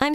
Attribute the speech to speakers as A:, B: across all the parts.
A: I'm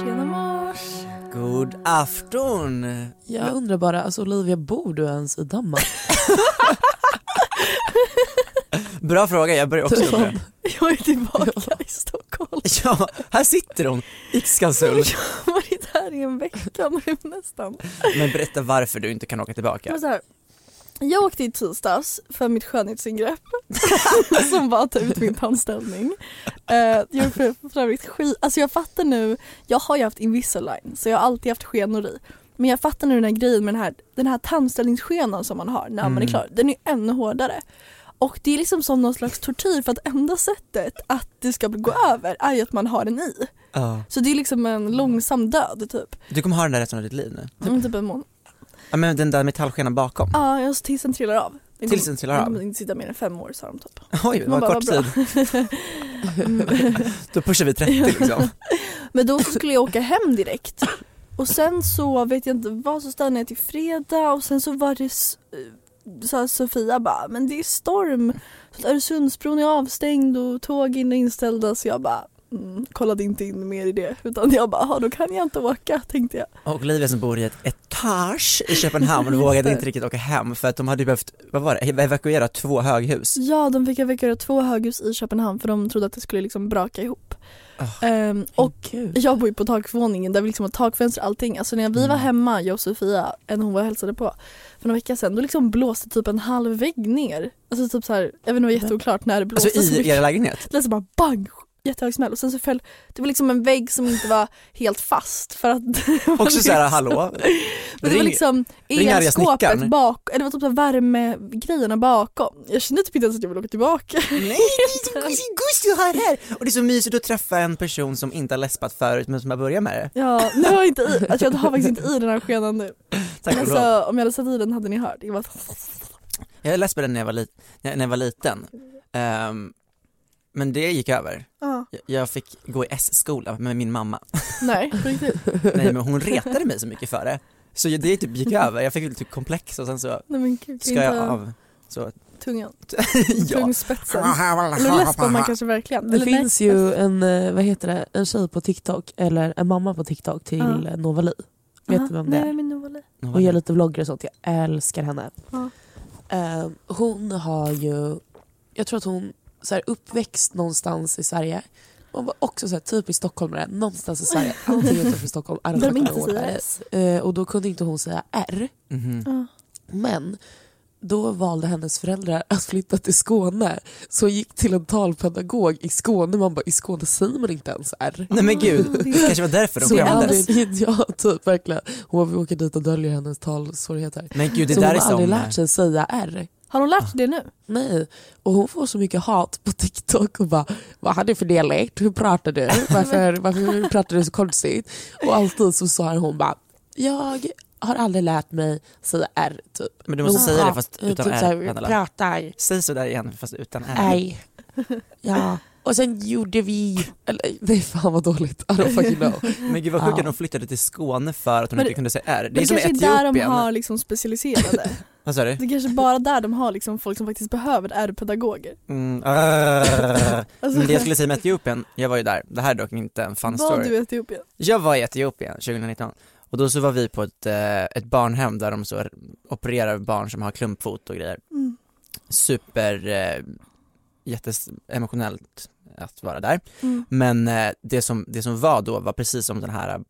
B: Tjena mors!
C: God afton!
B: Jag undrar bara, alltså Olivia, bor du ens i Danmark?
C: Bra fråga, jag börjar också undra.
B: Jag är tillbaka i Typ Stockholm.
C: Ja, här sitter hon i Skanstull.
B: Jag har varit här i en vecka nu nästan.
C: Men berätta varför du inte kan åka
B: Det
C: tillbaka.
B: var så här, jag åkte i tisdags för mitt skönhetsingrepp som var att ta ut min tandställning. Eh, jag gjorde för, för övrigt skit, alltså jag fattar nu, jag har ju haft Invisalign så jag har alltid haft skenor i. Men jag fattar nu den här grejen med den här, den här tandställningsskenan som man har när
C: Mm.
B: man är klar, den är ännu hårdare. Och det är liksom som någon slags tortyr för att enda sättet att det ska gå över är ju att man har den i.
C: Ja.
B: Så det är liksom en långsam död typ.
C: Du kommer ha den där resten av ditt liv nu.
B: Mm, typ en månad.
C: Ja men den där metallskenan bakom.
B: Ja, jag- tills den trillar av. Den
C: Tills
B: kommer-
C: den trillar av.
B: kommer inte sitta mer än fem år sa de typ.
C: Oj, det
B: Man
C: var
B: bara,
C: kort
B: vad
C: tid.
B: bra.
C: Då pushar vi 30 liksom.
B: Men då så skulle jag åka hem direkt och sen så vet jag inte vad så stannade jag till fredag och sen så var det s- eh, så här, Sofia bara men det är storm så att Öresundsbron är avstängd och tågen är inställda så jag bara mm, kollade inte in mer i det utan jag bara "Jaha, då kan jag inte åka tänkte jag.
C: Och Olivia som bor i ett etage i Köpenhamn vågade inte riktigt åka hem för att de hade ju behövt, vad var det, evakuera två höghus.
B: Ja de fick evakuera två höghus i Köpenhamn för de trodde att det skulle liksom braka ihop. Ehm, och
C: Gud.
B: Jag bor ju på takvåningen där vi liksom har takfönster och allting. Alltså när
C: Mm.
B: vi var hemma, jag och Sofia, en hon var och hälsade på för några veckor sedan, då liksom blåste typ en halv vägg ner. Alltså typ så här, jag vet inte, det var jätteoklart när det blåste.
C: Alltså
B: så
C: i
B: mycket.
C: er lägenhet?
B: Det lät som bara bang, jättehög smäll och sen så föll, det var liksom en vägg som inte var helt fast för att det var
C: Också såhär, hallå?
B: men det var
C: Ring-
B: liksom
C: ring arga
B: elskåpet
C: snickaren.
B: bakom, eller det var typ så här värmegrejerna bakom. Jag kände typ inte ens att jag ville åka tillbaka.
C: Nej, det är så gosigt, gosigt att ha det här! Och det är så mysigt att träffa en person som inte har läspat förut men som har börjat med det.
B: Ja, nu har jag inte i, alltså jag har faktiskt inte i den här skenan nu.
C: Tack och lov.
B: Alltså om jag hade satt i den hade ni hört. Det var
C: Jag läspade när jag var, li- när när jag var liten. Ehm, men det gick över.
B: Ja,
C: Jag- Jag fick gå i S-skola med min mamma.
B: nej på riktigt.
C: Nej men hon retade mig så mycket för det. Så jag- det typ gick över, jag fick lite komplex och sen så
B: Nej men gud,
C: skar jag
B: inte
C: av. Så,
B: tungan,
C: ja.
B: tungspetsen. Eller läspar man kanske verkligen.
D: Det
B: Eller nej.
D: finns ju en, eh, vad heter det, en tjej på TikTok, eller en mamma på TikTok till
B: Ja.
D: uh. Novali.
B: Aha,
D: Vet du vem det
B: Nej
D: är?
B: men Novali.
D: Hon gör lite vloggar och sånt, jag älskar henne.
B: Ja.
D: Eh, hon har ju, jag tror att hon så här, uppväxt någonstans i Sverige. Hon var också så här, typisk stockholmare, någonstans i Sverige. Allting utanför Stockholm. I don't
B: Där de
D: fucking
B: inte
D: know what
B: säger
C: Mm-hmm.
D: that is. Eh, och då kunde inte hon säga R.
C: Mhm.
B: Ja.
D: Men
E: då valde hennes föräldrar att flytta till Skåne. Så hon gick till en talpedagog i Skåne. Man bara, i Skåne säger man inte ens R.
C: Nej men gud, det kanske var därför de
E: Så
C: skämdes.
E: aldrig, ja, typ, verkligen. Hon åker dit och döljer hennes talsvårigheter.
C: Men gud, det
E: så
C: där
E: hon
C: är
E: har aldrig
C: som...
E: lärt sig säga R.
B: Har hon lärt sig det nu?
E: Nej, och hon får så mycket hat på TikTok och bara Vad har du för dialekt? Hur pratar du? Varför, varför pratar du så konstigt? Och alltid så sa hon bara Jag har aldrig lärt mig säga R typ.
C: Men du måste
E: Hon
C: säga det
E: prat-
C: fast utan
E: typ så här,
C: R, Pernilla.
E: Pratar,
C: Säg sådär igen fast utan R.
E: nej. Ja. Och sen gjorde vi... Eller, nej fan vad dåligt. I don't fucking know.
C: Men gud vad sjukt
E: Ja.
C: att de flyttade till Skåne för att hon
B: Men-
C: inte kunde säga R.
B: Men
C: Det är
B: det
C: som i
B: kanske är där de
C: Etiopien.
B: har liksom specialiserade.
C: Vad sa du?
B: Det kanske bara där de har liksom folk som faktiskt behöver R-pedagoger.
C: Mm, äh.
B: Alltså-
C: Men det jag skulle säga med Etiopien, jag var ju där, det här är dock inte en fun
B: Var
C: story.
B: du i Etiopien?
C: Jag var i Etiopien 2019 och då så var vi på ett, eh, ett barnhem där de så opererar barn som har klumpfot och grejer.
B: Mm.
C: Super, eh, jätteemotionellt att vara där.
B: Mm.
C: Men eh, det, som, det som var då var precis som den här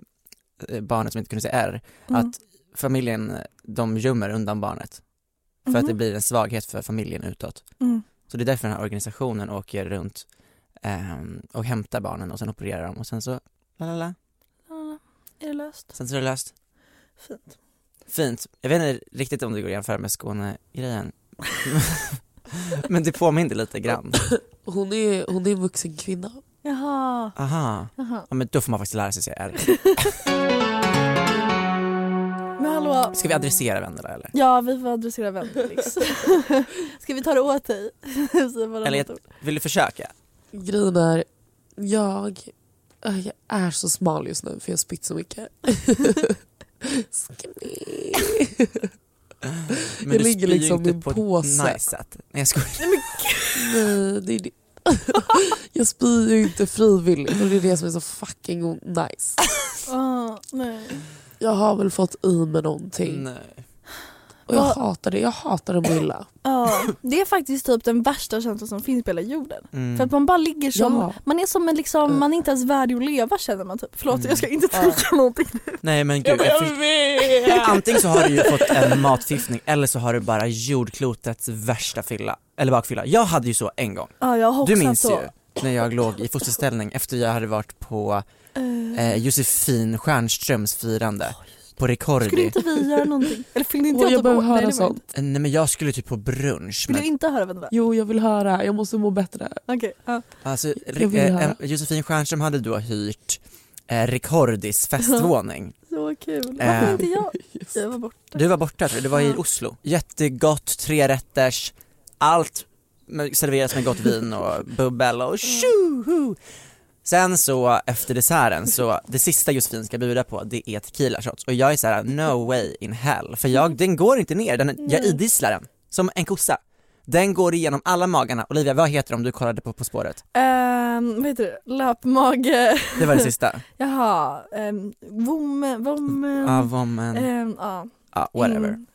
C: eh, barnet som inte kunde säga R,
B: Mm.
C: att familjen, eh, de gömmer undan barnet för att
B: Mhm.
C: det blir en svaghet för familjen utåt.
B: Mm.
C: Så det är därför den här organisationen åker runt ehm, och hämtar barnen och sen opererar dem och sen så, lalala,
B: Ja, Är det löst?
C: sen så är det löst.
B: Fint.
C: Fint. Jag vet inte riktigt om det går att jämföra med Skåne-grejen. Men det påminner lite grann.
E: Hon är, hon är en vuxen kvinna.
B: Jaha.
C: Aha.
B: Jaha.
C: Ja, men då får man faktiskt lära sig säga R.
B: Men hallå.
C: Ska vi adressera Vendela eller?
B: Ja, vi får adressera vem Felix. Ska vi ta det åt dig? Säg bara
C: Eller
B: något
C: jag-
B: ord.
C: Vill du försöka?
E: Grejen är, jag, äh, jag är så smal just nu för jag har spytt så mycket. Skinny.
C: Men
E: Jag
C: du
E: ligger
C: spyr
E: liksom
C: inte
E: i en
C: på ett
E: påse.
C: Nice sätt. Nej jag skojar.
E: Nej, det är det. Jag spyr ju inte frivilligt och det är det som är så fucking o- nice.
B: Ah, nej.
E: Jag har väl fått i mig någonting
C: Nej.
E: och jag
B: Vad-
E: hatar det. Jag hatar att må illa.
B: Ja, det är faktiskt typ den värsta känslan som finns på hela jorden.
C: Mm.
B: För att man bara ligger som,
E: Ja.
B: man är som en liksom,
E: Mm.
B: man är inte ens värdig att leva känner man typ. Förlåt
C: Mm.
B: jag ska inte tänka någonting.
C: Nej men gud. Jag för... Antingen så har du ju fått en matförgiftning eller så har du bara jordklotets värsta fylla. Eller bakfylla. Jag hade ju så en gång.
B: Ja jag har
C: Du
B: också
C: minns
B: så.
C: ju när jag låg i fosterställning efter jag hade varit på
B: Eh,
C: eh, Josefin Stjernströms firande på
B: skulle
C: Ricordi.
B: inte vi göra någonting? Eller fyllde inte
E: Och jag
B: typ
E: behöver
B: år? Nej, det
E: höra
B: var
E: sånt.
B: inte.
C: Eh, Nej men jag skulle typ på brunch
B: Vill du
C: men
B: inte höra vem det var?
E: Jo, jag vill höra. Jag måste må bättre.
B: Okej. ja.
C: alltså,
E: Jag vill
C: eh,
E: höra.
C: eh, Josefin Stjernström hade då hyrt eh, Ricordis festvåning.
B: Så kul.
C: Eh.
B: Varför inte jag? Jag var borta.
C: Du var borta tror jag, du var i Oslo. Jättegott, tre rätters, allt med- serveras med gott vin och bubbel och tjoho! Sen så efter desserten så, det sista Josefin ska bjuda på det är tequila shots och jag är så här: no way in hell för jag, den går inte ner, den, jag
B: Nej.
C: idisslar den som en kossa. Den går igenom alla magarna, Olivia vad heter det om du kollade på På spåret?
B: Ehm, vad heter det? Löpmage.
C: Det var det sista.
B: Jaha. Um, vom, vom.
C: Ja, vad man,
B: ehm, ja.
C: ja whatever.
B: In,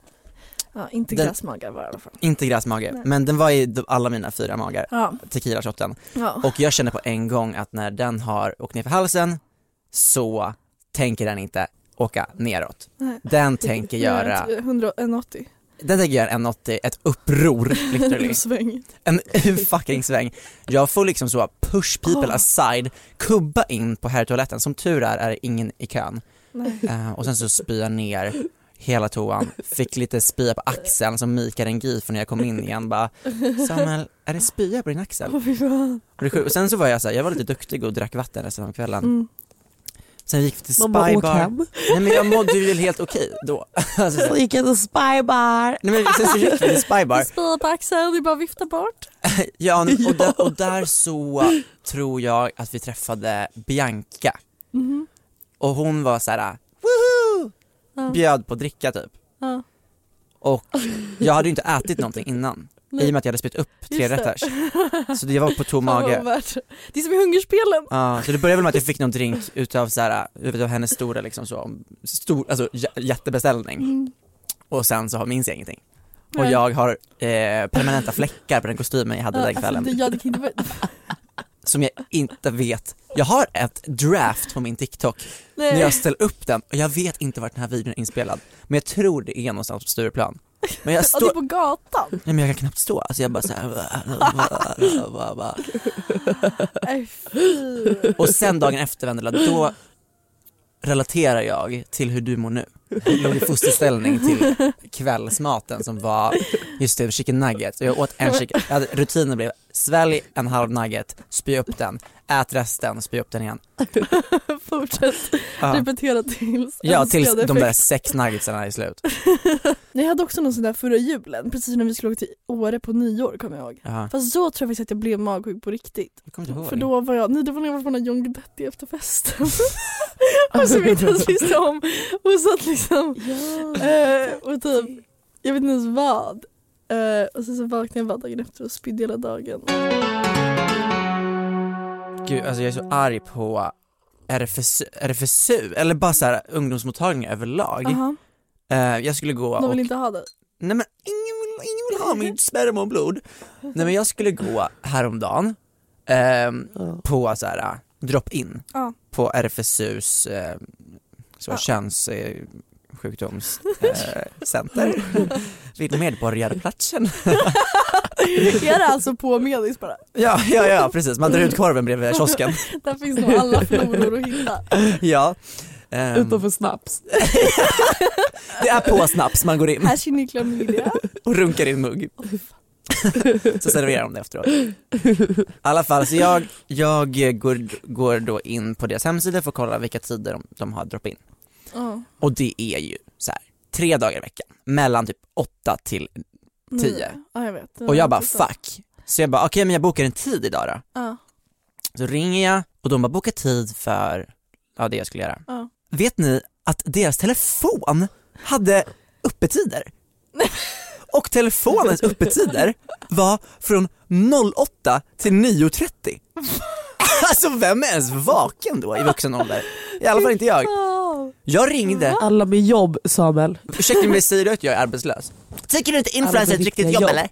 B: ja, inte
C: Den-
B: glassmagar var det i alla fall.
C: Inte gräsmage,
B: Nej.
C: men den var i d- alla mina fyra magar,
B: Ja.
C: tequila shotten.
B: ja.
C: Och jag känner på en gång att när den har åkt ner för halsen så tänker den inte åka neråt.
B: Nej.
C: Den tänker göra,
B: 180.
C: den tänker göra en 80, ett uppror literally.
B: Sväng.
C: En fucking sväng. Jag får liksom så push people
B: Åh.
E: Ah.
C: aside, kubba in på herrtoaletten, som tur är är det ingen i kön.
B: Nej.
C: Eh, och sen så spyr jag ner hela toan, fick lite spya på axeln som Mikael Engin för när jag kom in igen bara Samuel, är det spya på din axel?
B: Åh fy fan.
C: Och det är sjukt. Och sen så var jag så här, jag var lite duktig och drack vatten resten av kvällen.
B: Mm.
C: Sen gick vi till
E: Man bara, åk
C: spybar.
E: hem.
C: Nej men jag mådde ju helt okej då. Alltså, så-
E: Så gick jag till spybar.
C: Nej men sen så gick vi till spybar.
B: Spyr på axeln, det är bara att vifta bort.
C: Ja, och, där, och där så tror jag att vi träffade Bianca.
B: Mhm.
C: Och hon var så här, woho!
B: Ja.
C: Bjöd på dricka typ.
B: Ja.
C: Och jag hade ju inte ätit någonting innan. I och med att jag hade spytt upp tre rätters. Så jag var på tom
B: Fan, vad
C: mage.
B: värt. Det är som i Hungerspelen.
C: Ja, så det började väl med att jag fick någon drink utav så här, utav hennes stora liksom så, stor, alltså jä- jättebeställning. Och sen så har- minns jag ingenting. Och
B: Nej.
C: jag har eh, permanenta fläckar på den kostymen jag hade den
B: alltså, det,
C: kvällen.
B: ja, det kan inte vara...
C: Som jag inte vet. Jag har ett draft på min TikTok när
B: Nej.
C: jag ställer upp den och jag vet inte vart den här videon är inspelad. Men jag tror det är någonstans på Stureplan.
B: Men jag
C: Ja, det är
B: står,
C: på gatan.
B: nej men jag kan knappt stå, alltså jag bara såhär
C: Nej, Äh, fy.
B: Och sen dagen efter Vendela, då relaterar jag till hur du mår nu. Jag låg i fosterställning till kvällsmaten som var, just det, chicken nuggets. Jag åt en chicken, jag hade, rutinen blev svälj en halv nugget, spy upp den, ät resten, spy upp den igen.
C: Fortsätt
B: Ja,
C: repetera tills
B: ja tills
C: önskad
B: de där
C: effekt.
B: sex nuggetsarna är slut.
C: Nej, Jag hade också någon sån där förra julen, precis när vi skulle åka till Åre på nyår kommer jag ihåg.
B: Ja.
C: Fast då tror jag faktiskt att jag blev magsjuk på riktigt.
B: Jag kommer inte ihåg.
C: För då var jag, nej det var när jag var på den här John Guidetti efter festen. och som vi inte ens visste om. Och satt liksom eh, och typ, jag vet inte ens vad. Eh, och sen så vaknade jag bara dagen efter och spydde hela dagen.
B: Gud, alltså jag är så arg på RFSU, RFSU eller bara såhär ungdomsmottagningar överlag.
C: Aha,
B: Eh, jag skulle gå
C: de
B: och
C: vill inte ha det.
B: Nej men ingen vill, ingen vill ha mitt sperma och blod. Nej men jag skulle gå häromdagen ehm,
D: Ja.
B: på så här eh, drop-in
C: Ja.
B: på RFSUs eh, så eh,
C: Ja.
B: könssjukdomscenter. Vid Medborgarplatsen.
C: är det alltså på Medis bara?
B: ja, ja, ja precis. Man drar ut korven bredvid kiosken.
C: Där finns nog alla floror att hitta.
B: ja. Ehm,
D: Utanför snaps.
B: det är på snaps man går in
C: Här ser ni klamydia.
B: och runkar i en mugg. så serverar de det efteråt. I alla fall, så jag, jag går, går då in på deras hemsida för att kolla vilka tider de, de har drop-in.
C: Ja.
B: Och det är ju så här, tre dagar i veckan, mellan typ 8 till,
C: Nej.
B: Tio.
C: Ja, jag vet.
B: och jag bara
C: Ja.
B: fuck. Så jag bara okej men jag bokar en tid idag då.
C: Ja.
B: Så ringer jag och de bara boka tid för, ja det jag skulle göra.
C: Ja.
B: Vet ni att deras telefon hade öppettider? Och telefonens öppettider var från 08 till 9.30. Alltså vem är ens vaken då i vuxen ålder? I alla fall inte jag.
C: Ja.
B: Jag ringde
E: Ah.
D: Alla med jobb Samuel.
B: Ursäkta mig, säger du att jag är arbetslös? Tycker du inte influencer är ett
D: Alla
B: riktigt
D: riktiga
B: jobb,
D: jobb.
B: eller?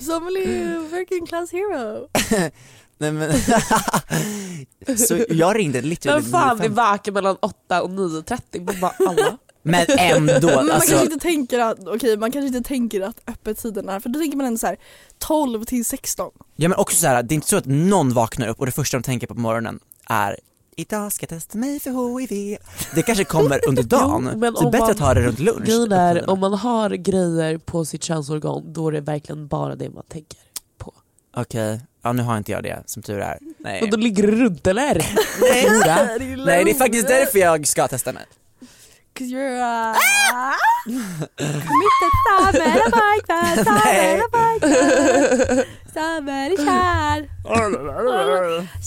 C: Samuel är ju working class hero.
B: Nej men Så jag ringde lite
D: Men fan vi
B: över
D: vaken mellan 8 och 9.30. Man bara alla.
B: Men ändå
C: Men man
B: alltså.
C: kanske inte tänker att, okej man kanske inte tänker att öppettiderna är, för då tänker man ändå så här 12 till 16.
B: Ja men också så här, det är inte så att någon vaknar upp och det första de tänker på på morgonen är Idag ska jag testa mig för HIV. Det kanske kommer under dagen.
D: Jo, men
B: det är
D: om
B: bättre
D: man-
B: att ha det runt lunch.
D: Grejen är, om man har grejer på sitt könsorgan då är det verkligen bara det man tänker.
B: Okej, ja nu har inte jag det som tur är. Nej.
D: Och då ligger det runt eller?
B: Nej.
D: Hora.
B: Nej det är faktiskt därför jag ska testa mig.
C: 'Cause you're a... Committed Samuel är pojkvän, Samuel är pojkvän. Samuel är kär.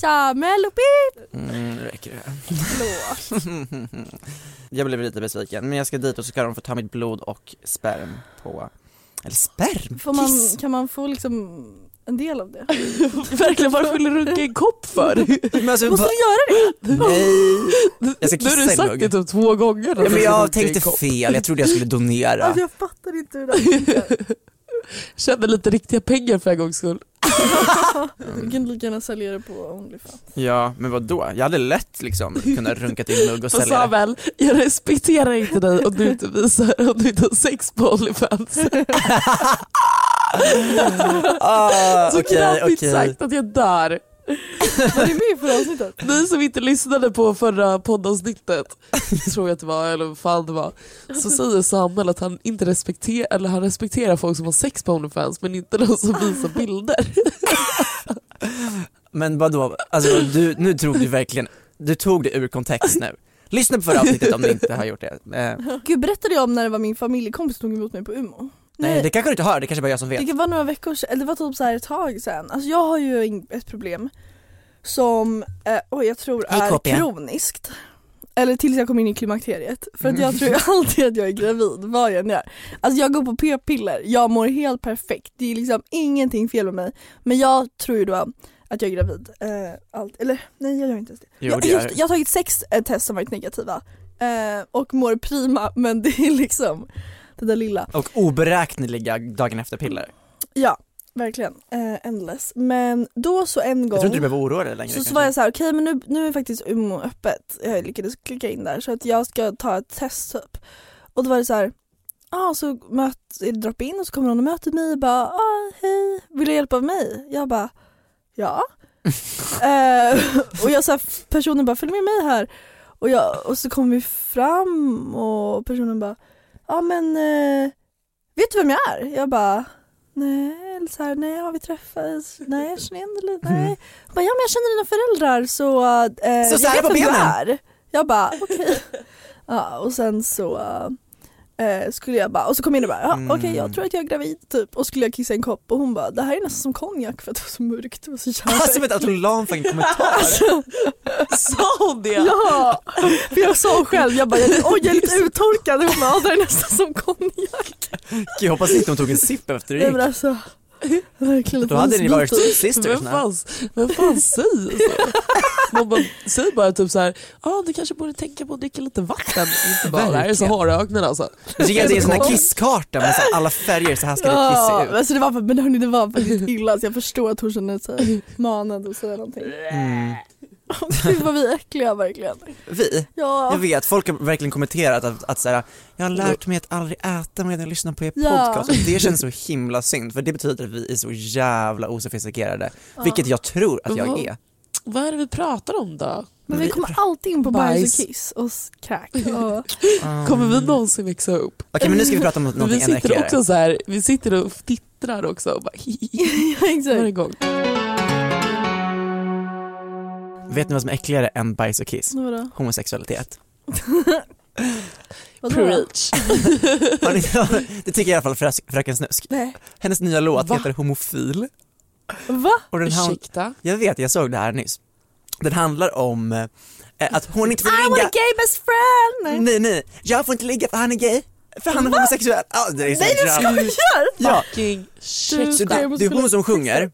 C: Samuel och pip.
B: Mm, nu räcker det.
C: Förlåt.
B: jag blev lite besviken men jag ska dit och så ska de få ta mitt blod och sperm på, eller sperm?
C: Får man,
B: Kiss.
C: kan man få liksom en del av det?
D: Verkligen varför vill du runka i en kopp för?
B: Men alltså,
C: Måste
B: va-
C: man göra det?
B: Nej! Jag ska
D: Nu har
B: kissa
D: du
B: i en
D: sagt
B: mugg.
D: det typ två gånger.
B: Ja, men jag
D: Runka i en
B: tänkte
D: kopp.
B: fel, jag trodde jag skulle donera.
C: Alltså jag fattar inte hur det här funkar.
D: Tjäna lite riktiga pengar för en gångs skull.
C: Du kan lika gärna sälja det på Onlyfans.
B: Mm. Ja, men vad då? Jag hade lätt liksom kunnat runka till en mugg och
D: Och Samuel, jag respekterar inte dig om du inte visar om du inte har sex på Onlyfans.
B: ah,
D: Så
B: Okej,
D: kraftigt
B: okej.
D: sagt att jag dör.
C: Var du med i förra avsnittet?
D: Ni som inte lyssnade på förra poddavsnittet, tror jag att det var, eller vad fan det var, så säger Samuel att han inte respekterar, eller han respekterar folk som har sex på Onlyfans men inte de som visar bilder.
B: Men vad då? Alltså du, nu tog du verkligen, du tog det ur kontext nu. Lyssna på förra avsnittet om du inte har gjort det. Eh,
C: Gud berättade jag om när det var min familjekompis som tog emot mig på Umeå?
B: nej, det kanske du inte har, det kanske bara jag som vet.
C: Det var några veckor sedan, eller det var typ så här ett tag sedan. Alltså jag har ju in- ett problem som eh, oj, jag tror
B: Hej,
C: är
B: KP.
C: kroniskt. Eller tills jag kom in i klimakteriet. För
B: Mm.
C: att jag tror ju alltid att jag är gravid, vad jag än gör. Alltså jag går på p-piller, jag mår helt perfekt. Det är liksom ingenting fel med mig. Men jag tror ju då att jag är gravid. Eh, allt. Eller nej jag gör inte ens det.
B: Jo,
C: jag,
B: det gör
C: just,
B: du.
C: jag har tagit sex eh, test som varit negativa. Eh, och mår prima men det är liksom det där lilla.
B: Och oberäkneliga dagen efter-piller.
C: Ja, verkligen. Eh, endless. Men då så en
B: Jag tror inte du
C: gång
B: behöver oroa dig längre.
C: så, så
B: kanske.
C: var jag så här, okej men nu, nu är faktiskt Umeå öppet. Jag lyckades klicka in där så att jag ska ta ett test typ. Och då var det så här, ah, så möt, är det drop in och så kommer någon och möter mig och bara ah, hej, vill du hjälp av mig? Jag bara ja. eh, och jag så här, personen bara följ med mig här och, jag, och så kom vi fram och personen bara ja ah, men eh, vet du vem jag är? Jag bara nej, eller så här, nej har vi träffats? Nej jag känner igen dig lite, nej. Jag bara, ja men jag känner dina föräldrar så, eh,
B: Så så här
C: jag
B: på
C: vet vem du
B: benen.
C: är. Jag bara okej. Ja, och sen så eh, skulle jag bara, och så kom jag in och bara, ja,
B: Mm.
C: okej jag tror att jag är gravid typ. Och skulle jag kissa i en kopp och hon bara, det här är nästan som konjak för att det var så mörkt. Det var så jävla
B: Alltså med att hon la en fucking kommentar.
D: Sa hon det?
C: Ja, för jag sa själv, jag bara, oj jag är lite uttorkad. Hon bara, ja, det här är nästan som konjak.
B: Gud, jag hoppas inte hon tog en sipp efter det
C: Nej
B: gick.
C: men alltså, verkligen
B: Då hade ni varit
C: isbitar.
B: sisters.
D: Vem fan, vem fan säger så? Man bara, säger bara typ så här, ah, du kanske borde tänka på att dricka lite vatten. Inte bara, det här är Saharaöknen alltså.
B: Jag tycker att det är en sån här kisskarta med så här alla färger, så här ska det
C: Ja,
B: kissa ut.
C: alltså det var, men hörni det var faktiskt illa så jag förstår att hon känner sig manad och säga någonting.
B: Mm.
C: Gud vad vi är äckliga verkligen.
B: Vi?
C: Ja.
B: Jag vet, folk har verkligen kommenterat att, att så här, jag har lärt mig att aldrig äta medan jag lyssnar på er
C: Ja.
B: podcast och det känns så himla synd för det betyder att vi är så jävla osofistikerade, vilket jag tror att jag är.
D: Vad är det vi pratar om då?
C: Men vi kommer alltid in på bajs,
D: Bajs.
C: och kiss och s- kräk. Och...
D: Kommer
B: Mm.
D: vi någonsin växa upp?
B: Okej men nu ska vi prata om något,
D: vi
B: någonting ännu
D: sitter
B: äckligare.
D: också så här, vi sitter och fnittrar också och bara
C: ja,
D: varje
C: exakt.
D: gång.
B: Vet ni vad som är äckligare än bajs och kiss?
C: Vadå?
B: Homosexualitet.
C: Vadå?
D: Preach.
B: Har ni- det tycker i alla fall frö- Fröken Snusk.
C: Nej.
B: Hennes nya låt
D: Va?
B: heter Homofil.
C: Va?
B: Och den hand-
D: Ursäkta?
B: jag vet, jag såg det här nyss. Den handlar om eh, att hon inte
C: I
B: får
C: want a
B: ligga.
C: gay best friend!
B: Nej, nej, jag får inte ligga för han är gay. För han är homosexuell. Ah, det är så
C: Nej du
B: jävla-
C: skojar!
B: Ja,
D: Fucking shit.
B: så det, det är hon som
C: Homosexuell.
B: sjunger.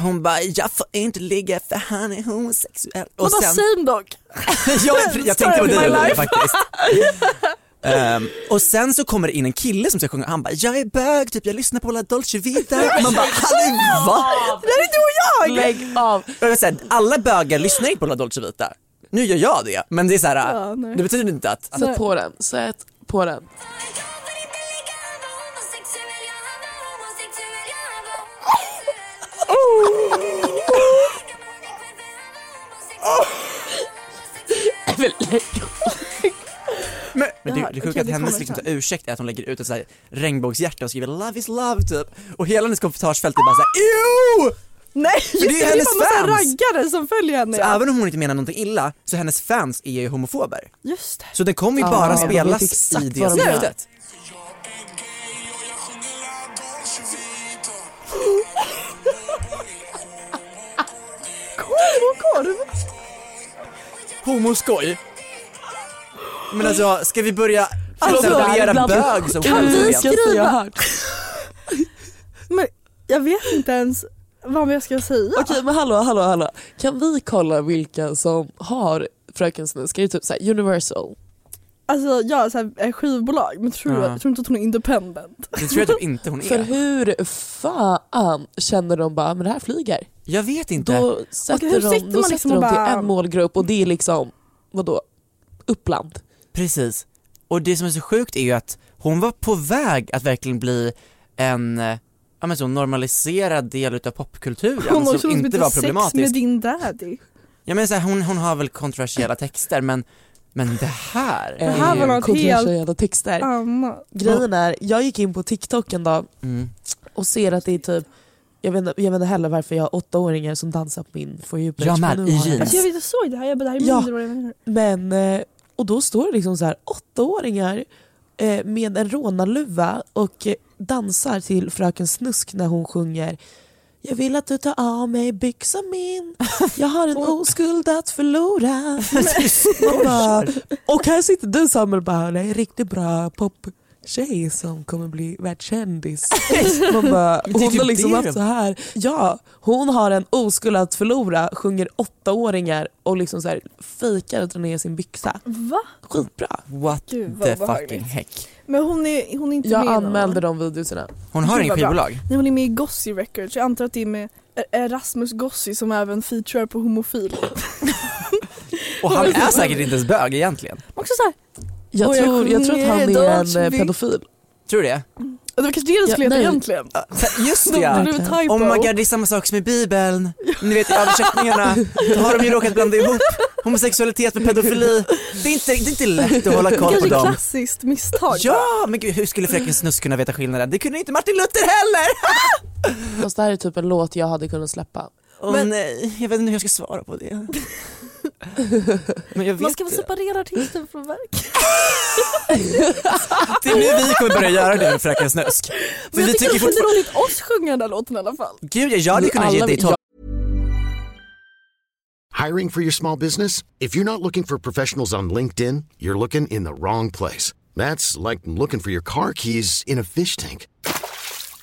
B: Hon bara, jag får inte ligga för han är homosexuell.
C: Vadå same dog?
B: jag, jag tänkte på
C: Story of
B: dig
C: my
B: Olivia
C: life.
B: faktiskt. Ehm, och sen så kommer det in en kille som ska sjunga, han bara jag är bög, typ jag lyssnar på La Dolce Vita. Och man bara hallå va?
C: Det är du och jag!
D: Lägg av.
B: Och jag vill säga, alla bögar lyssnar inte på La Dolce Vita. Nu gör jag det, men det är så här,
C: Ja, nej.
B: det betyder inte att...
D: Sätt på den, sätt på den. Men lägg
B: Men, men det,
C: Ja,
B: det är sjukt
C: okej,
B: att
C: det
B: hennes
C: kommer
B: liksom,
C: sen.
B: ursäkt är att hon lägger ut ett så här regnbågshjärta och skriver love is love typ. Och hela hennes kommentarsfält är bara såhär EW!
C: Nej just det,
B: är
C: det är
B: hennes
C: bara en
B: fans.
C: massa raggare som följer henne.
B: Så även om hon inte menar någonting illa så hennes fans är ju homofober.
C: Just det.
B: Så den kommer ju
D: Ja,
B: bara
D: de vet
B: spelas
D: exakt
B: i det
D: vad de gör.
B: syftet.
C: Korv och korv!
B: Homoskoj. Men alltså ska vi börja
C: Alltså,
B: tolerera
D: ibland-
B: bög som
C: Kan vi
B: homofobiet?
C: skriva?
D: Jag har hört.
C: Men jag vet inte ens vad jag ska säga.
D: Okej men hallå, hallå, hallå. Kan vi kolla vilka som har Fröken Snusk? Är det typ såhär Universal?
C: Alltså jag är så här, eh, skivbolag men tror,
B: Ja.
C: tror inte att hon är independent.
B: Det tror jag typ inte hon
D: För
B: är.
D: hur fan känner de bara, men det här flyger?
B: Jag vet inte.
D: Då sätter
C: hur
D: de,
C: sitter
D: då
C: man
D: sätter
C: liksom
D: de
C: och bara-
D: till en målgrupp och det är liksom, vadå, Uppland?
B: Precis. Och det som är så sjukt är ju att hon var på väg att verkligen bli en eh, ja, men så normaliserad del utav popkulturen
C: Hon har också
B: alltså, som
C: något som
B: inte
C: heter
B: var
C: sex med
B: problematisk.
C: din daddy.
B: Jag menar så här, hon, hon har väl kontroversiella texter men, men det här.
D: Det
C: här var något
D: texter.
C: Anna.
D: Grejen är, jag gick in på TikTok en dag
B: Mm.
D: och ser att det är typ jag vet, inte- jag vet inte heller varför jag har åttaåringar som dansar på min For you
B: Jag med, i jeans.
C: Alltså jag vet jag såg det här, jag bara det här är
D: Ja.
C: mindre vad jag menar.
D: Men, eh, och då står det liksom så här, åttaåringar eh, med en rånarluva och eh, dansar till Fröken Snusk när hon sjunger Jag vill att du tar av mig byxan min, jag har en oskuld att förlora. Man bara, och här sitter du Samuel och bara, det är en riktigt bra poptjej som kommer bli världskändis. Man bara,
B: det är
D: hon
B: typ
D: har liksom
B: det
D: haft så här. Ja, hon har en oskuld att förlora, sjunger åttaåringar och liksom så här fejkar att dra ner sin byxa.
C: Va?
D: Skitbra.
B: What
C: Gud, vad
B: the
C: obehagligt.
B: fucking heck.
C: Men hon är, hon är inte
D: Jag
C: med i någon
D: anmälde de videorna.
B: Hon har
C: Gud,
B: inget
C: vad bra.
B: skivbolag.
C: Nej, hon är med i Gossi Records, jag antar att det är med Erasmus Gossi som även featurar på homofil.
D: liksom
B: Och han är säkert inte ens bög egentligen.
C: Också såhär,
D: Jag,
C: Och jag
D: tror, jag tror att han
C: sjunger
D: är
C: Don't
D: en eh,
C: be-
D: pedofil.
B: Tror du det?
C: Det var kanske det du skulle
D: Ja,
C: heta
D: nej.
C: egentligen.
B: Just
C: Då
B: det ja.
C: blev det typo.
B: Oh my god det är samma sak som i bibeln. Ni vet i översättningarna, då har de ju råkat blanda ihop homosexualitet med pedofili. Det är inte, det är inte lätt att hålla koll på
C: Kanske
B: dem.
C: klassiskt misstag.
B: Ja men gud hur skulle fröken Snusk kunna veta skillnaden? Det kunde inte Martin Luther heller!
D: Fast det här är typ en låt jag hade kunnat släppa.
B: Åh nej, jag vet inte hur jag ska svara på det. Men jag vet
C: Man ska väl
B: det.
C: separera artisten från verket.
B: det är nu vi kommer börja göra det med Fröken Snusk. För
C: Men
B: vi
C: jag tycker
B: tycker
C: det var lite
B: fortfarande...
C: roligt oss sjunga den här låten i alla fall.
B: Gud jag hade kunnat ge
D: Alla-
B: dig tolv
F: Hiring for your small business? If you're not looking for professionals on LinkedIn, you're looking in the wrong place. That's like looking for your car keys in a fish tank.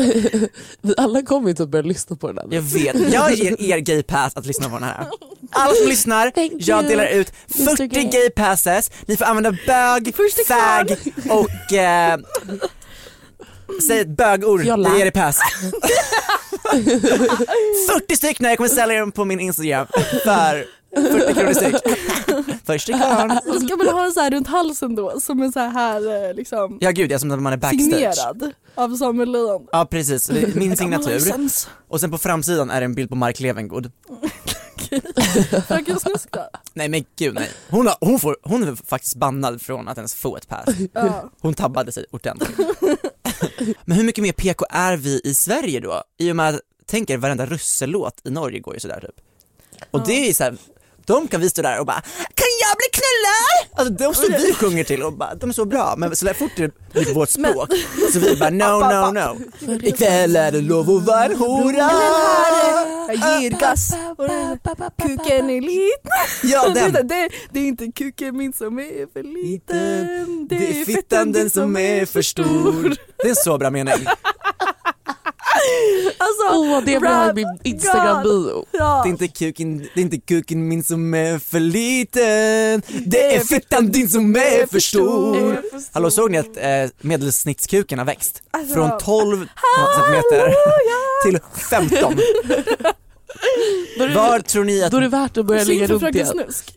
D: Vi alla kommer ju typ börja lyssna på den här.
B: Jag vet, jag ger er gay pass att lyssna på den här. Alla som lyssnar,
D: Thank
B: jag
D: you,
B: delar ut 40
D: Gay.
B: gay passes, ni får använda bög,
C: Första
B: fag och eh, säg ett bögord,
D: Fjolla.
B: jag ger er pass. 40 stycken, jag kommer sälja dem på min Instagram för 40 kronor styck. Första karln.
C: Då Alltså, ska man ha den så här runt halsen då som en så här eh, liksom
B: Ja gud, jag som när man är backstage.
C: signerad av Samuel Leon.
B: Ja precis, det är min signatur.
C: License.
B: Och sen på framsidan är det en bild på Mark Levengood.
C: Fröken Snusk då?
B: Nej men gud nej. Hon, har, hon, får, hon är faktiskt bannad från att ens få ett pass.
C: Ja.
B: Hon tabbade sig ordentligt. men hur mycket mer PK är vi i Sverige då? I och med att, tänk er varenda russelåt i Norge går ju sådär typ. Och det är ju såhär, de kan vi stå där och bara Kan jag bli knullad? Alltså de står vi och sjunger till och bara, de är så bra men så där fort det blir vårt språk så vi bara no no no. Ikväll är det lov att vara en hora.
C: Jag ger gas och den- kuken är liten.
B: Ja den.
C: Vänta, det, det är inte kuken min som är för liten.
B: Det är fittan den som är för stor. Det är en så bra mening.
C: Alltså,
D: Åh, det blir här i
C: rap
D: min Instagram-bio.
C: Ja.
B: Det är inte kuken, det är inte kuken min som är för liten. Det är fittan din som är för stor. Hallå såg ni att eh, medelsnittskuken har växt?
C: Alltså,
B: Från 12 centimeter till 15. Var tror ni att...
D: Då är det värt att börja
C: Synd
D: ligga
C: för
D: runt
C: Fröken
D: igen.
C: Snusk.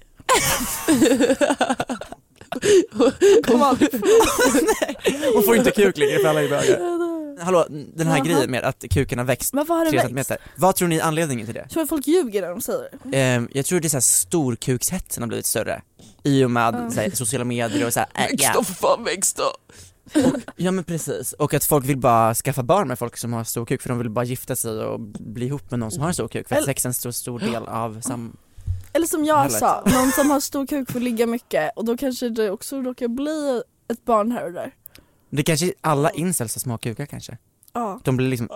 B: Hon får inte kuk längre för alla är bögar. Hallå, den här
C: Jaha.
B: grejen med att kuken har växt
C: Men vad har
B: 3
C: det växt?
B: centimeter. Vad tror ni är anledningen till det?
C: Tror jag folk ljuger när de säger det?
B: Ehm, jag tror det är såhär storkukshetsen har blivit större. I och med
C: Mm.
B: så här, sociala medier och såhär, äh,
D: Väx
B: ja.
D: då för fan, väx då.
B: ja men precis. Och att folk vill bara skaffa barn med folk som har stor kuk för de vill bara gifta sig och bli ihop med någon som har en stor kuk för att
C: Eller-
B: sex är en stor, stor del av sam...
C: Eller som jag
B: Eller-
C: sa, någon som har stor kuk får ligga mycket och då kanske det också råkar bli ett barn här och där.
B: Det kanske, alla incels har små kukar kanske?
C: Ja.
B: De blir liksom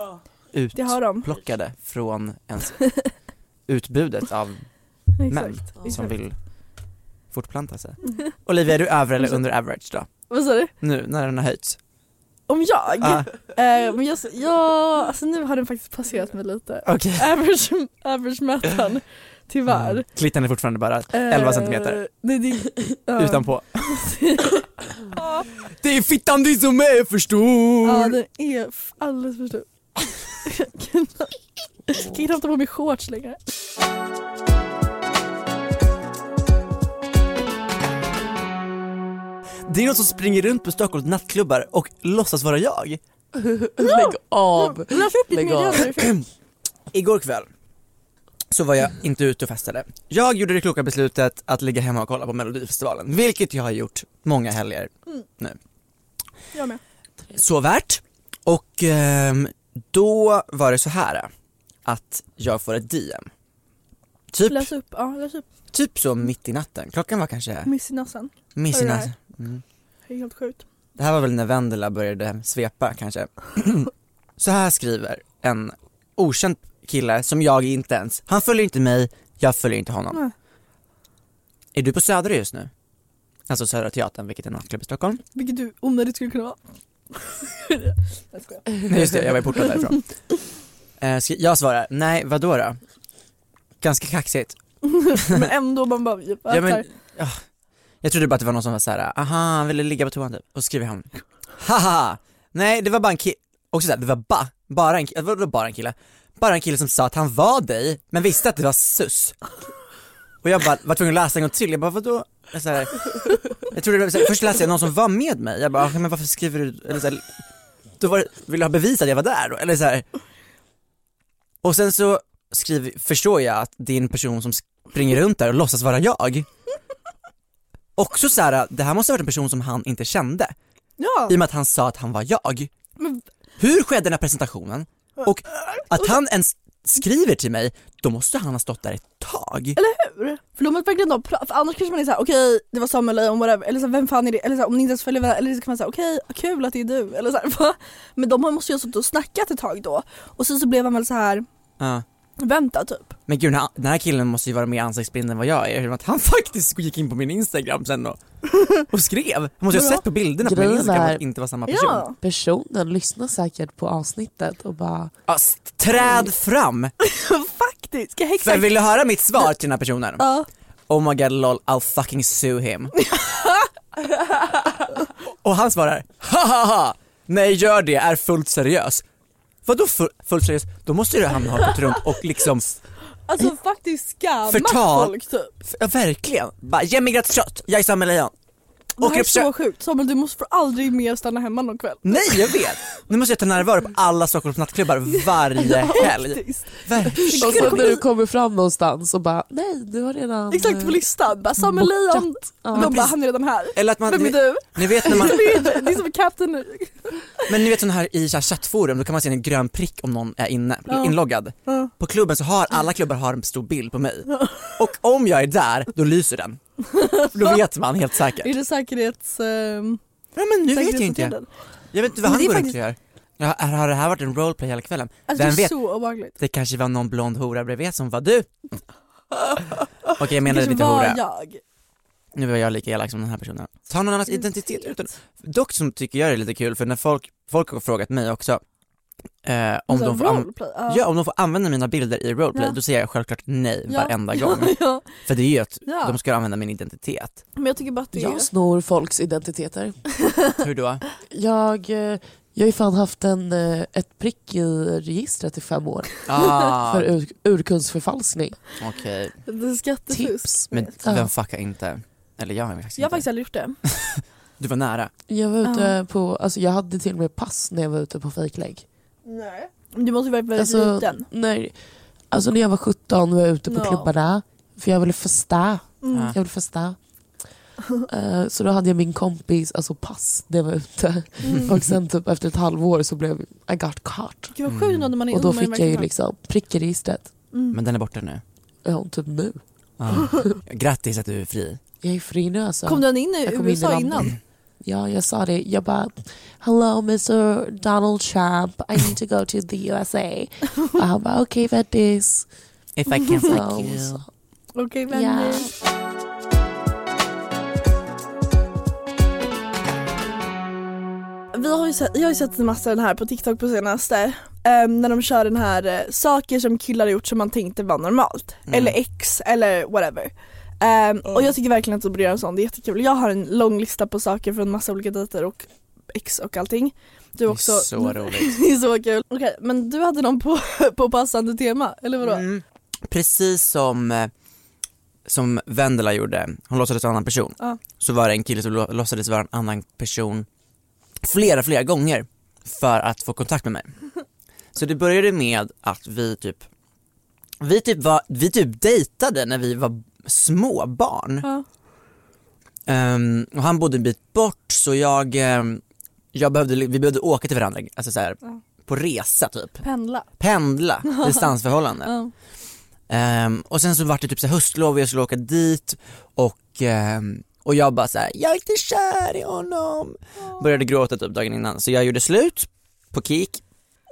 C: Det har de.
B: utplockade från ens utbudet av män
C: Exakt.
B: som vill fortplanta sig. Olivia, är du över eller under average då?
C: Vad sa du?
B: Nu när den har höjts?
C: Om jag?
B: Ah.
C: Eh, men jag, ja, alltså nu har den faktiskt passerat mig lite.
B: Okej.
C: Average, average mätaren, tyvärr.
B: Mm. Klittan är fortfarande bara 11
C: Eh,
B: centimeter
C: Nej, det, ja.
B: utanpå. Det är fittan du som är för stor!
C: ja, den är f- alldeles för stor. Jag kan jag kan knappt ta på mig shorts längre.
B: Det är någon som springer runt på Stockholms nattklubbar och låtsas vara jag.
D: Lägg av.
C: Läs upp ditt
D: Lägg av.
C: meddelande.
B: Igår kväll så var jag inte ute och festade. Jag gjorde det kloka beslutet att ligga hemma och kolla på Melodifestivalen, vilket jag har gjort många helger.
C: Mm. Jag med.
B: Så värt. Och ehm, då var det så här att jag får ett DM. Typ,
C: Läs upp, ja läs upp.
B: typ så mitt i natten, klockan var kanske
C: Miss i nassen.
B: miss i
C: Hörru,
B: natten. Mm.
C: Det är helt sjukt.
B: Det här var väl när Vendela började svepa kanske. Så här skriver en okänd kille som jag inte ens, han följer inte mig, jag följer inte honom.
C: Nej.
B: Är du på Södra just nu? Alltså Södra Teatern, vilket är en nattklubb i Stockholm.
C: Vilket du onödigt skulle kunna vara. Jag skojar.
B: Nej just det, jag var ju portad därifrån. Eh, ska- Jag svarar, nej vadå då? Ganska kaxigt.
C: Men ändå man bara,
B: Ja, men, ja. Jag trodde bara att det var någon som var såhär, aha han ville ligga på toan typ. Och så skriver han, haha, nej det var bara en kille, också såhär, det var ba, bara en kille, det var bara en kille, bara en kille som sa att han var dig, men visste att det var sus. Och jag bara var tvungen att läsa en gång till, jag bara vadå? Jag, så här, jag trodde det var, så här, först läste jag någon som var med mig, jag bara, "Ah, men varför skriver du, eller så här, då var det, vill du ha bevis att jag var där då? Eller så här. Och sen så skriver, förstår jag att det är en person som springer runt där och låtsas vara jag. Också så här, äh, det här måste ha varit en person som han inte kände,
C: ja.
B: i och med att han sa att han var jag.
C: Men-
B: Hur skedde den här presentationen? Och att han ens skriver till mig, då måste han ha stått där ett tag.
C: Hur? För de måste verkligen då pra- för annars kanske man är såhär okej det var Samuel Leijon whatever eller så här, vem fan är det eller så här, om ni inte ens följer varandra eller så kan man säga okej kul att det är du eller så här, va? Men de måste ju ha suttit och snackat ett tag då och sen så blev han väl så här
B: Ja.
C: vänta typ.
B: Men gud, den här- den här killen måste ju vara mer ansiktsblind än vad jag är, i och med att han faktiskt gick in på min instagram sen och, och skrev. Han måste ju ha
C: Ja.
B: sett på bilderna på min
D: Grejen
B: instagram
D: är-
B: att det inte var samma person.
C: Ja.
D: Personen lyssnar säkert på avsnittet och bara
B: Ja, s- träd fram!
C: Faktiskt, exakt.
B: För vill du höra mitt svar till den här personen?
C: Ja.
B: Oh my god lol, I'll fucking sue him. och han svarar, ha ha ha, nej gör det, är fullt seriös. Vadå full, fullt seriös? Då måste ju han ha gått runt och liksom,
C: Alltså faktiskt skammat
B: Förtal.
C: folk typ.
B: ja, verkligen, bara ge mig gratis kött, jag är Samuel Lejon.
C: Det här är
B: upp kö-
C: så sjukt. Samuel du måste för aldrig mer stanna hemma någon kväll.
B: Nej jag vet! Nu måste jag ta närvaro på alla Stockholms nattklubbar varje helg.
C: Faktiskt.
B: Verkligen.
D: Och sen Alltså, när du kommer fram någonstans och bara nej du har redan
C: Exakt
D: eh,
C: på listan, bara Samuel Leijon, de bara
B: precis.
C: han är redan här.
B: Eller att man,
C: Vem är
B: ni,
C: du?
B: ni vet när man,
C: Det är- det är som Captain
B: men ni vet sån här i så här chattforum, då kan man se en grön prick om någon är inne,
C: Ja.
B: inloggad.
C: Ja.
B: På klubben så har alla klubbar har en stor bild på mig. Och om jag är där, då lyser den. Då vet man helt
C: Är
B: säkert.
C: det säkerhets... ehm,
B: Ja men nu vet jag inte.
C: säkerhetsåtgärden?
B: Jag vet inte vad
C: Men
B: han
C: det är
B: går runt och gör. Ja, här har det här varit en roleplay hela kvällen?
C: Alltså
B: Vem
C: det är
B: vet?
C: så obehagligt.
B: Det kanske var någon blond hora bredvid som var du. Okej jag menade
C: kanske
B: lite
C: var
B: hora.
C: jag.
B: Nu var jag lika elak som den här personen. Ta någon annans identitet utan. Dock som tycker jag det är lite kul för när folk, folk har frågat mig också eh, om, de får an-
C: roleplay.
B: ja, om de får använda mina bilder i roleplay,
C: alltså, Ja.
B: då säger jag självklart nej
C: Ja.
B: varenda gång.
C: ja.
B: För det är ju att
C: Ja.
B: de ska använda min identitet.
C: Men jag tycker bara att det är...
D: Jag snor folks identiteter.
B: Hur då?
D: Jag, eh, jag har ju fan haft en, eh, ett prick i registret i fem år
B: Ah,
D: för ur, urkundsförfalskning.
B: okej.
C: Det är skattefusk.
B: Men
D: Ja.
B: vem fuckar inte? Eller jag har faktiskt
C: Jag har
B: inte.
C: faktiskt aldrig gjort det.
B: Du var nära.
D: Jag var ute på, alltså jag hade till och med pass när jag var ute på fejklägg.
C: Nej. Du måste ju vara väldigt
D: Alltså,
C: liten.
D: när, alltså när jag var 17 var jag ute på
C: Ja. Mm.
D: klubbarna för jag ville festa.
B: Ja.
D: Jag ville festa. Eh, så då hade jag min kompis alltså pass när jag var ute.
C: Mm.
D: Och sen typ efter ett halvår så blev I got caught.
C: Gud vad
B: Mm.
C: sjukt när man är
D: Och då
C: ung, man är
D: fick jag ju
C: verkligen-
D: liksom prick i registret.
C: Mm.
B: Men den är borta nu.
D: Ja, typ nu.
B: Ah. Grattis att du är fri.
D: Jag är fri nu alltså.
C: Kom den in i
D: Jag kom in i
C: USA
D: landet.
C: innan?
D: Ja, jag sa det. Jag bara, hello Mr Donald Trump, I need to go to the USA. Och han bara, okej okay, vettis.
B: If I can fuck
D: you.
C: Okej vänner.
D: Ja.
C: Vi har ju sett, jag har ju sett en massa den här på TikTok på senaste. Ehm, när de kör den här eh, saker som killar har gjort som man tänkte var normalt.
B: Mm.
C: Eller ex eller whatever. Ehm, Och jag tycker verkligen att du borde göra en sån, det är jättekul. Jag har en lång lista på saker från massa olika dejter och ex och allting. Du
B: Det är
C: också.
B: så roligt.
C: det är så kul. Okej men du hade någon på, på passande tema, eller vadå?
B: Mm. Precis som, eh, som Vendela gjorde, hon låtsades vara en annan person.
C: Ja.
B: Så var det en kille som lå- låtsades vara en annan person flera, flera gånger för att få kontakt med mig. Så det började med att vi typ, vi typ, var, vi typ dejtade när vi var små barn.
C: Ja.
B: Ehm, och han bodde en bit bort så jag, ehm, jag behövde, vi behövde åka till varandra, alltså så här,
C: Ja.
B: på resa typ.
C: Pendla.
B: Pendla, distansförhållande.
C: Ja.
B: Ehm, och sen så var det typ så här höstlov och jag skulle åka dit och, ehm, och jag bara såhär, jag är inte kär i honom. Började gråta typ dagen innan så jag gjorde slut på Kik.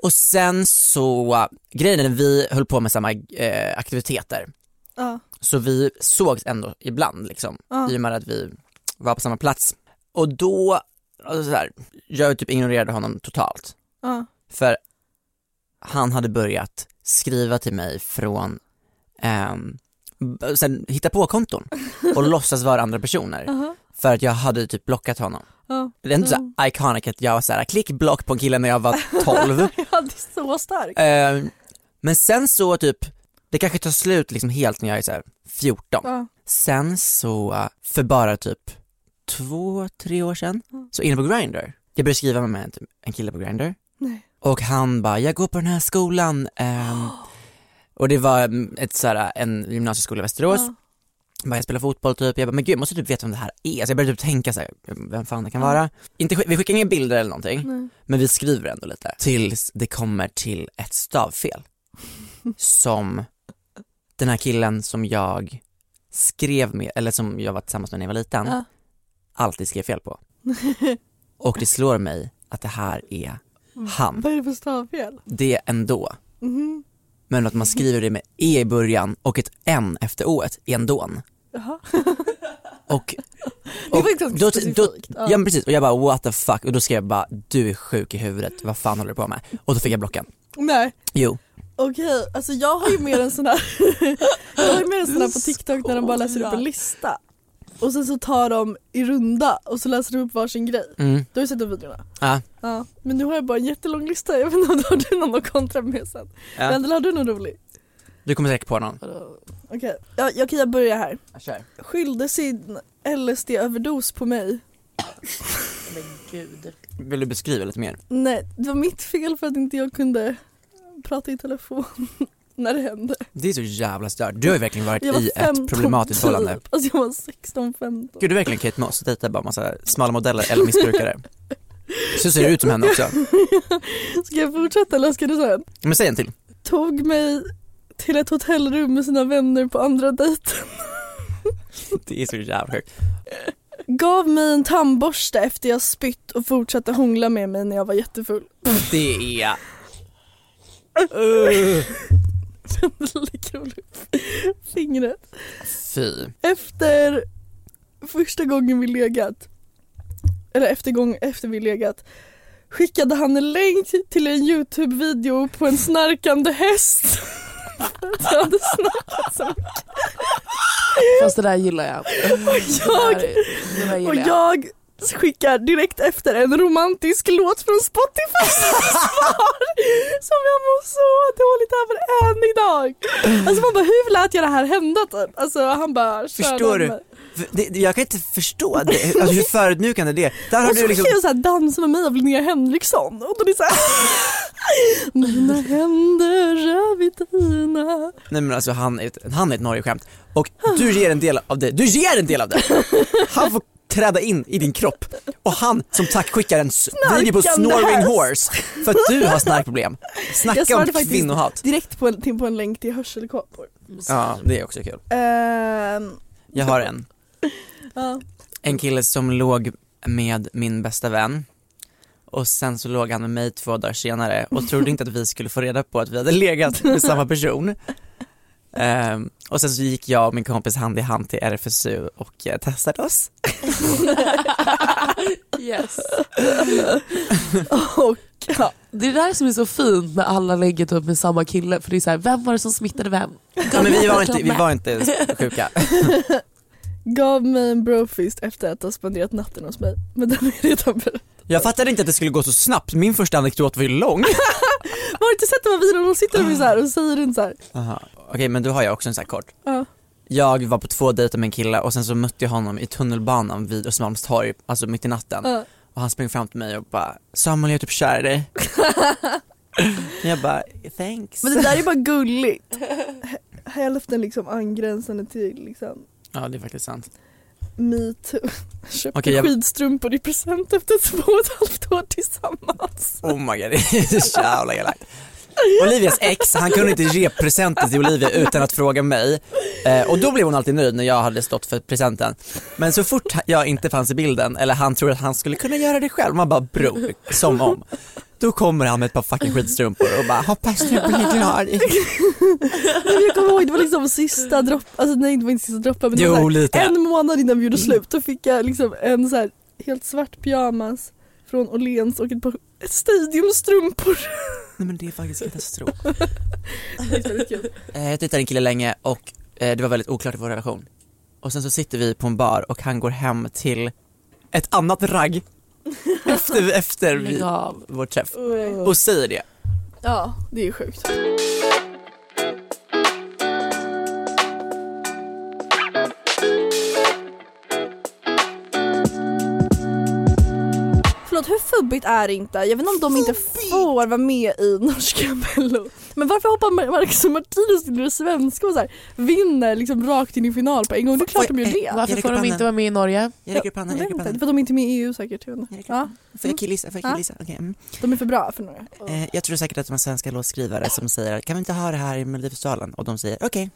B: Och sen så, grejen är att vi höll på med samma eh, aktiviteter.
C: Ja.
B: Så vi sågs ändå ibland liksom,
C: Ja.
B: i och med att vi var på samma plats. Och då, alltså så här, jag typ ignorerade honom totalt.
C: Ja.
B: För han hade börjat skriva till mig från, ehm, b- sen hitta på-konton och låtsas vara andra personer.
C: Aha.
B: För att jag hade typ blockat honom.
C: Uh-huh. Ja.
B: Det är inte så här iconic att jag var såhär, klick block på en kille när jag var 12.
C: ja det är så starkt.
B: Ehm, men sen så typ, det kanske tar slut liksom helt när jag är såhär 14.
C: Ja.
B: Sen så, eh, för bara typ två, tre år sedan, så inne på Grindr. Jag började skriva med en, typ, en kille på Grindr.
C: Nej.
B: Och han bara, jag går på den här skolan. ehm, och det var mm, ett, såhär, en gymnasieskola i Västerås.
C: Ja.
B: Han bara, jag spelar fotboll typ. Jag bara, men gud jag måste typ veta vem det här är. Så jag började typ tänka såhär, vem fan det kan vara. Inte, sk- vi skickar inga bilder eller någonting,
C: Nej.
B: men vi skriver ändå lite. Tills det kommer till ett stavfel. som den här killen som jag skrev med, eller som jag var tillsammans med när jag var liten,
C: Ja.
B: alltid skrev fel på. och det slår mig att det här är han.
C: Mm. Vad är det för stavfel?
B: Det ändå.
C: Mhm.
B: Men att man skriver det med E i början och ett N efter Ået, ändån.
C: Jaha.
B: Och,
C: Det är
B: och
C: faktiskt ganska
B: då, då,
C: specifikt. Ja.
B: ja men precis, och jag bara what the fuck och då skrev jag bara du är sjuk i huvudet, vad fan håller du på med? Och då fick jag blocken.
C: Nej.
B: Jo,
C: Okej, alltså jag har ju mer en sån här Jag har ju mer en sån här på TikTok när de bara läser upp en lista Och sen så tar de i runda och så läser de upp varsin grej
B: mm.
C: Du har ju sett de videorna?
B: Ja.
C: Ja, men nu har jag bara en jättelång lista, jag vet inte om du har du någon att kontra med sen?
B: Ja.
C: Vendela har du någon rolig?
B: du kommer säkert på någon.
C: Okej, ja, jag kan jag börja här
B: Kör.
C: Skyllde sin LSD-överdos på mig
D: Gud.
B: Vill du beskriva lite mer?
C: Nej, det var mitt fel för att inte jag kunde prata i telefon när det hände
B: Det är så jävla stört, du har ju verkligen varit
C: Jag var
B: i ett
C: 15
B: problematiskt
C: typ.
B: förhållande.
C: Alltså jag var 16-15
B: Gud du är verkligen Kate Moss, dejtar bara massa smala modeller eller missbrukare. Så ser du ut som henne också.
C: Ska jag fortsätta eller ska du säga?
B: Men säg en till.
C: Tog mig till ett hotellrum med sina vänner på andra dejten.
B: Det är så jävla sjukt.
C: Gav mig en tandborste efter jag spytt och fortsatte hångla med mig när jag var jättefull.
B: Det är... Uh,
C: Ligger och lyfter Fingret.
B: fy.
C: Efter första gången vi legat, eller efter gång efter vi legat, skickade han en länk till en Youtube-video Typ på en snarkande häst. Jag hade snarkat så mycket.
D: Fast Alltså, det där gillar jag.
C: jag-
D: Det där, det där gillar
C: Och
D: jag.
C: jag skickar direkt efter en romantisk låt från Spotify som svar som jag mår så dåligt över än idag. Alltså man bara hur lät jag det här hända typ? Alltså han bara körde
B: Förstår du?
C: mig.
B: För Det, det- jag kan inte förstå det, alltså, hur förödmjukande det är. Där har
C: Och så
B: du
C: skickar
B: liksom,
C: jag såhär dansa med mig av Linnea Henriksson och då är det såhär Mina händer rör vid dina
B: nej men alltså han är ett, han är ett Norge-skämt. Och du ger en del av det, du ger en del av det! Han får träda in i din kropp och han som tack skickar en s- video på
C: Snarkande
B: Snoring
C: häst.
B: Horse för att du har snarkproblem.
C: Jag
B: Snacka om
C: svarade faktiskt
B: kvinnohat.
C: direkt på en, till- på en länk till hörselkåpor.
B: Ja, det är också kul.
C: Ehm,
B: Jag har en.
C: ja.
B: En kille som låg med min bästa vän och sen så låg han med mig två dagar senare och trodde inte att vi skulle få reda på att vi hade legat med samma person. Ehm, och sen så gick jag och min kompis hand i hand till RFSU och eh, testade oss.
D: Yes.
C: Och
D: Ja, det är det här som är så fint med alla lägger typ med samma kille för det är så här, vem var det som smittade vem?
B: Ja, men vi var inte, vi var inte sjuka.
C: gav mig en brofist efter att ha spenderat natten hos mig. Men den är redan berättad.
B: Jag fattade inte att det skulle gå så snabbt, min första anekdot var ju lång.
C: Har du inte sett de här videorna? De sitter de ju så här och säger inte så här.
B: Aha. Okej men du har jag också en sån här kort.
C: Ja.
B: Jag var på två dejter med en kille och sen så mötte jag honom i tunnelbanan vid Östermalmstorg, alltså mitt i natten.
C: Ja.
B: Och han sprang fram till mig och bara “Samuel jag är typ kär i dig”. jag bara “thanks”.
C: Men det där är bara gulligt. H- Hälften liksom angränsande till liksom
B: Ja det är faktiskt sant.
C: metoo. Köpte
B: Okej, jag-
C: skidstrumpor i present efter två och ett halvt år tillsammans.
B: Oh my god det är så jävla elakt. Olivias ex, han kunde inte ge presenter till Olivia utan att fråga mig. Eh, och då blev hon alltid nöjd när jag hade stått för presenten. Men så fort jag inte fanns i bilden, eller han trodde att han skulle kunna göra det själv, man bara bro, som om. Då kommer han med ett par fucking skitstrumpor och bara hoppas du blir glad.
C: Nej, men jag kommer ihåg det var liksom sista droppen, alltså nej det var inte sista droppen men det
B: Jo,
C: var så här,
B: lite.
C: en månad innan vi gjorde slut då fick jag liksom en så här helt svart pyjamas från Åhléns och ett par stadiumstrumpor.
B: Nej men det är faktiskt katastrof.
C: Det är väldigt kul.
B: Eh, jag dejtade en kille länge och eh, det var väldigt oklart i vår relation. Och sen så sitter vi på en bar och han går hem till ett annat ragg efter, efter vi,
D: Lägg av.
B: vår träff.
C: Oj.
B: Och säger det.
C: Ja, det är ju sjukt. Förlåt, hur fubbigt är det inte? Jag vet inte om de inte får vara med i norska mello. Men varför hoppar Mar- Marcus och Martinus till det svenska och så här, vinner liksom rakt in i final på en gång? Det är klart de gör det.
D: Varför
B: Erik
D: får
B: och
D: de
B: Panna.
D: inte vara med i Norge?
B: Jag räcker upp handen,
C: Jag
B: jag
C: vet
B: räcker upp
C: inte,
B: handen.
C: för de är inte med i EU säkert. Jag vet inte.
B: Erik
C: Ja,
B: Får jag killgissa? Får jag killgissa? Okej. mm.
C: de är för bra för några.
B: Eh, jag tror säkert att de är svenska låtskrivare som säger kan vi inte ha det här i Melodifestivalen? Och de säger okej.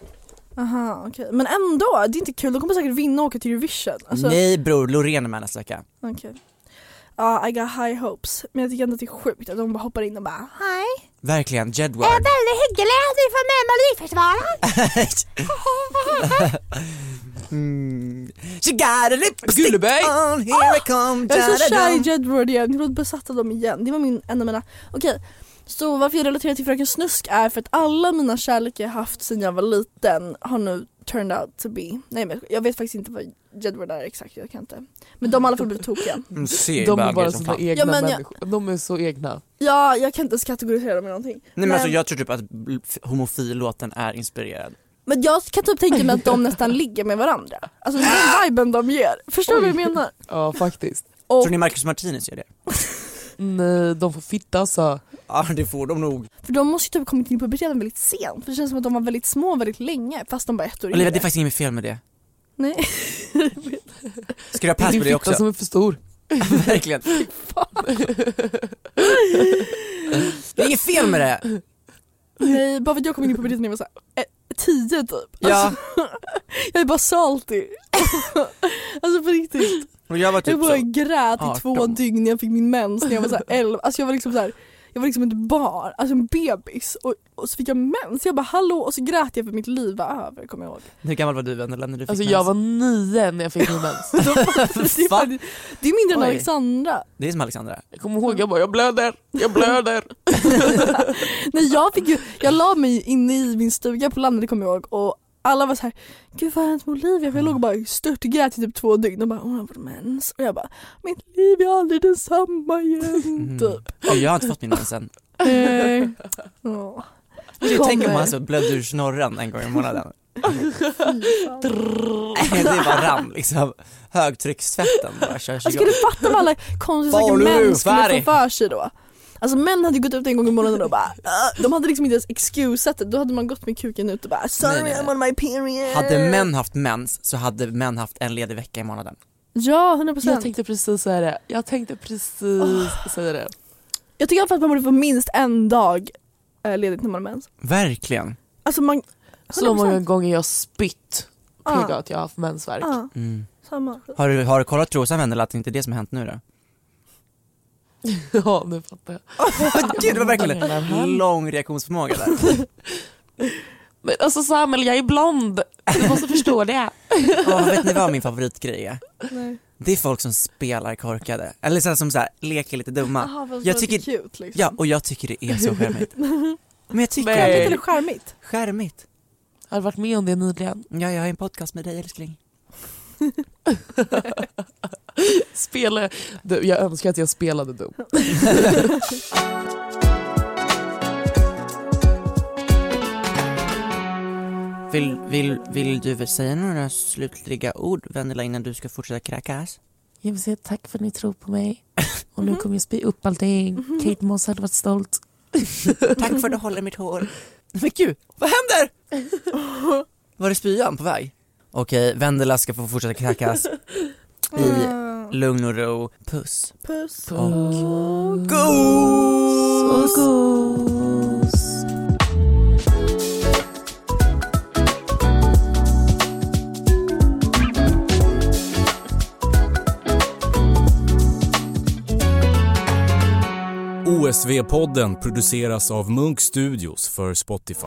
C: Aha, okej. Men ändå, det är inte kul. De kommer säkert vinna och åka till Eurovision. Alltså-
B: Nej bror, Loreen är med nästa vecka.
C: Okej. Ja, I got high hopes. Men jag tycker ändå att det är sjukt att de bara hoppar in och bara Hej!
B: Verkligen, Jedward.
C: väldigt hygglig att du får med Melodifestivalen!
B: mm. She got a lipstick
D: Gulleböj.
B: on,
D: Ah,
B: here I come.
C: Jag är så kär i
B: da-da-dum.
C: Jedward igen, jag blev besatt av dem igen. Det var min, en av mina... Okej, så varför jag relaterar till Fröken Snusk är för att alla mina kärlekar jag haft sedan jag var liten har nu turned out to be... Nej men jag vet faktiskt inte vad Jedward är exakt, jag kan inte. Men de har i alla fall blivit tokiga.
B: Mm, ser
D: De är
B: bögar
D: bara
B: som
D: såna
B: fan.
D: egna
C: Ja, men jag-
D: människor. De är så egna.
C: Ja, jag kan inte ens kategorisera dem i någonting.
B: Nej men alltså jag tror typ att f- homofil-låten är inspirerad.
C: Men jag kan typ tänka mig att de nästan ligger med varandra. Alltså den viben de ger. Förstår du vad jag menar?
D: Ja faktiskt.
C: Och,
B: Tror ni Marcus Martinus gör det?
D: Nej, de får fitta alltså.
B: Ja det får de nog.
C: för de måste ju typ kommit in i puberteten väldigt sent. För det känns som att de var väldigt små väldigt länge fast de bara är ett år
B: Olivia det är
C: yngre.
B: faktiskt inget fel med det.
C: Nej.
B: Ska du ha pass
D: Din
B: på det
D: fitta
B: också?
D: som är för stor.
B: Verkligen. Det är inget fel med det.
C: Nej, Eh, bara för att jag kom in i puberteten när jag var såhär eh, tio typ. Alltså,
B: Ja,
C: Jag är bara salty. alltså på riktigt.
B: och jag var typ
C: Jag bara
D: liksom.
B: så.
C: grät i två
B: 18.
C: dygn när jag fick min mens när jag var såhär elva. Alltså jag var liksom såhär jag var liksom ett barn, alltså en bebis och, och så fick jag mens. Jag bara hallå och så grät jag för mitt liv var över kommer jag ihåg.
B: Hur gammal var du vän, eller när du fick
D: Alltså
B: mens?
D: jag var nio när jag fick min mens.
C: Då- det, är
B: Va?
C: faktiskt- det är mindre än
D: Oj.
C: Alexandra.
B: Det är som Alexandra.
D: Jag kommer ihåg jag bara jag blöder, jag blöder.
C: Nej, jag, fick ju, jag la mig inne i min stuga på landet det kommer jag ihåg och alla var så här, gud vad har hänt med Olivia? För jag låg och bara störtgrät i typ två dygn och bara hon har fått mens och jag bara mitt liv är aldrig detsamma igen
B: Mm.
C: typ.
B: Gud, Jag har inte fått min mens än.
C: Mm. Oh.
B: Du tänker om man så blödde ur snorren en gång i månaden. det är bara ram liksom. Högtryckstvätten bara körs
C: Alltså, ska du fatta vad alla konstiga
B: Vad
C: saker
B: har du
C: män skulle
B: färg?
C: få för sig då? Alltså män hade gått ut en gång i månaden och bara "Ah." De hade liksom inte ens excuseat det, då hade man gått med kuken ut och bara sorry
B: Nej, nej.
C: I'm on my period
B: Hade män haft mens så hade män haft en ledig vecka i månaden.
C: Ja, 100 procent. Oh.
D: Jag tänkte precis säga det. Jag tänkte precis säga det.
C: Jag tycker i alla fall att man borde få minst en dag eh, ledigt när man har mens.
B: Verkligen.
C: Alltså man...
D: Så många
C: 100%.
D: gånger jag spytt på
C: Ja.
D: att jag har haft mensvärk.
C: Ja.
B: Mm.
C: samma skit.
B: Har du, har du kollat Trosanvänd eller att det inte är det som har hänt nu då?
D: Ja, nu fattar jag.
B: Gud, det var verkligen
D: Menar han?
B: en lång reaktionsförmåga där.
D: Men alltså Samuel, jag är blond. Du måste förstå det.
B: Åh, vet ni vad min favoritgrej är?
C: Nej.
B: Det är folk som spelar korkade, eller så här, som så här, leker lite dumma.
C: Jaha, vad
B: jag
C: så
B: tycker-
C: cute liksom.
B: Ja, och jag tycker det är så charmigt. Men jag tycker
D: Nej.
B: att
C: Charmigt
B: det
C: eller
B: är
C: charmigt?
B: charmigt.
D: Jag har varit med om det nyligen.
B: Ja, jag har en podcast med dig älskling.
D: Spela. Du, jag önskar att jag spelade dum.
B: Vill, vill, vill du väl säga några slutliga ord Vendela innan du ska fortsätta kräkas?
D: Jag vill säga tack för att ni tror på mig. Och nu kommer jag spy upp allting. Kate Moss hade varit stolt.
B: Tack för att du håller mitt hår. Men gud, vad händer? Var det spyan på väg? Okej, Vendela ska få fortsätta kräkas. I
C: Mm.
B: lugn och ro. Puss.
C: Puss.
D: Och...
B: Gos!
D: Gos.
G: OSV-podden produceras av Munk Studios för Spotify.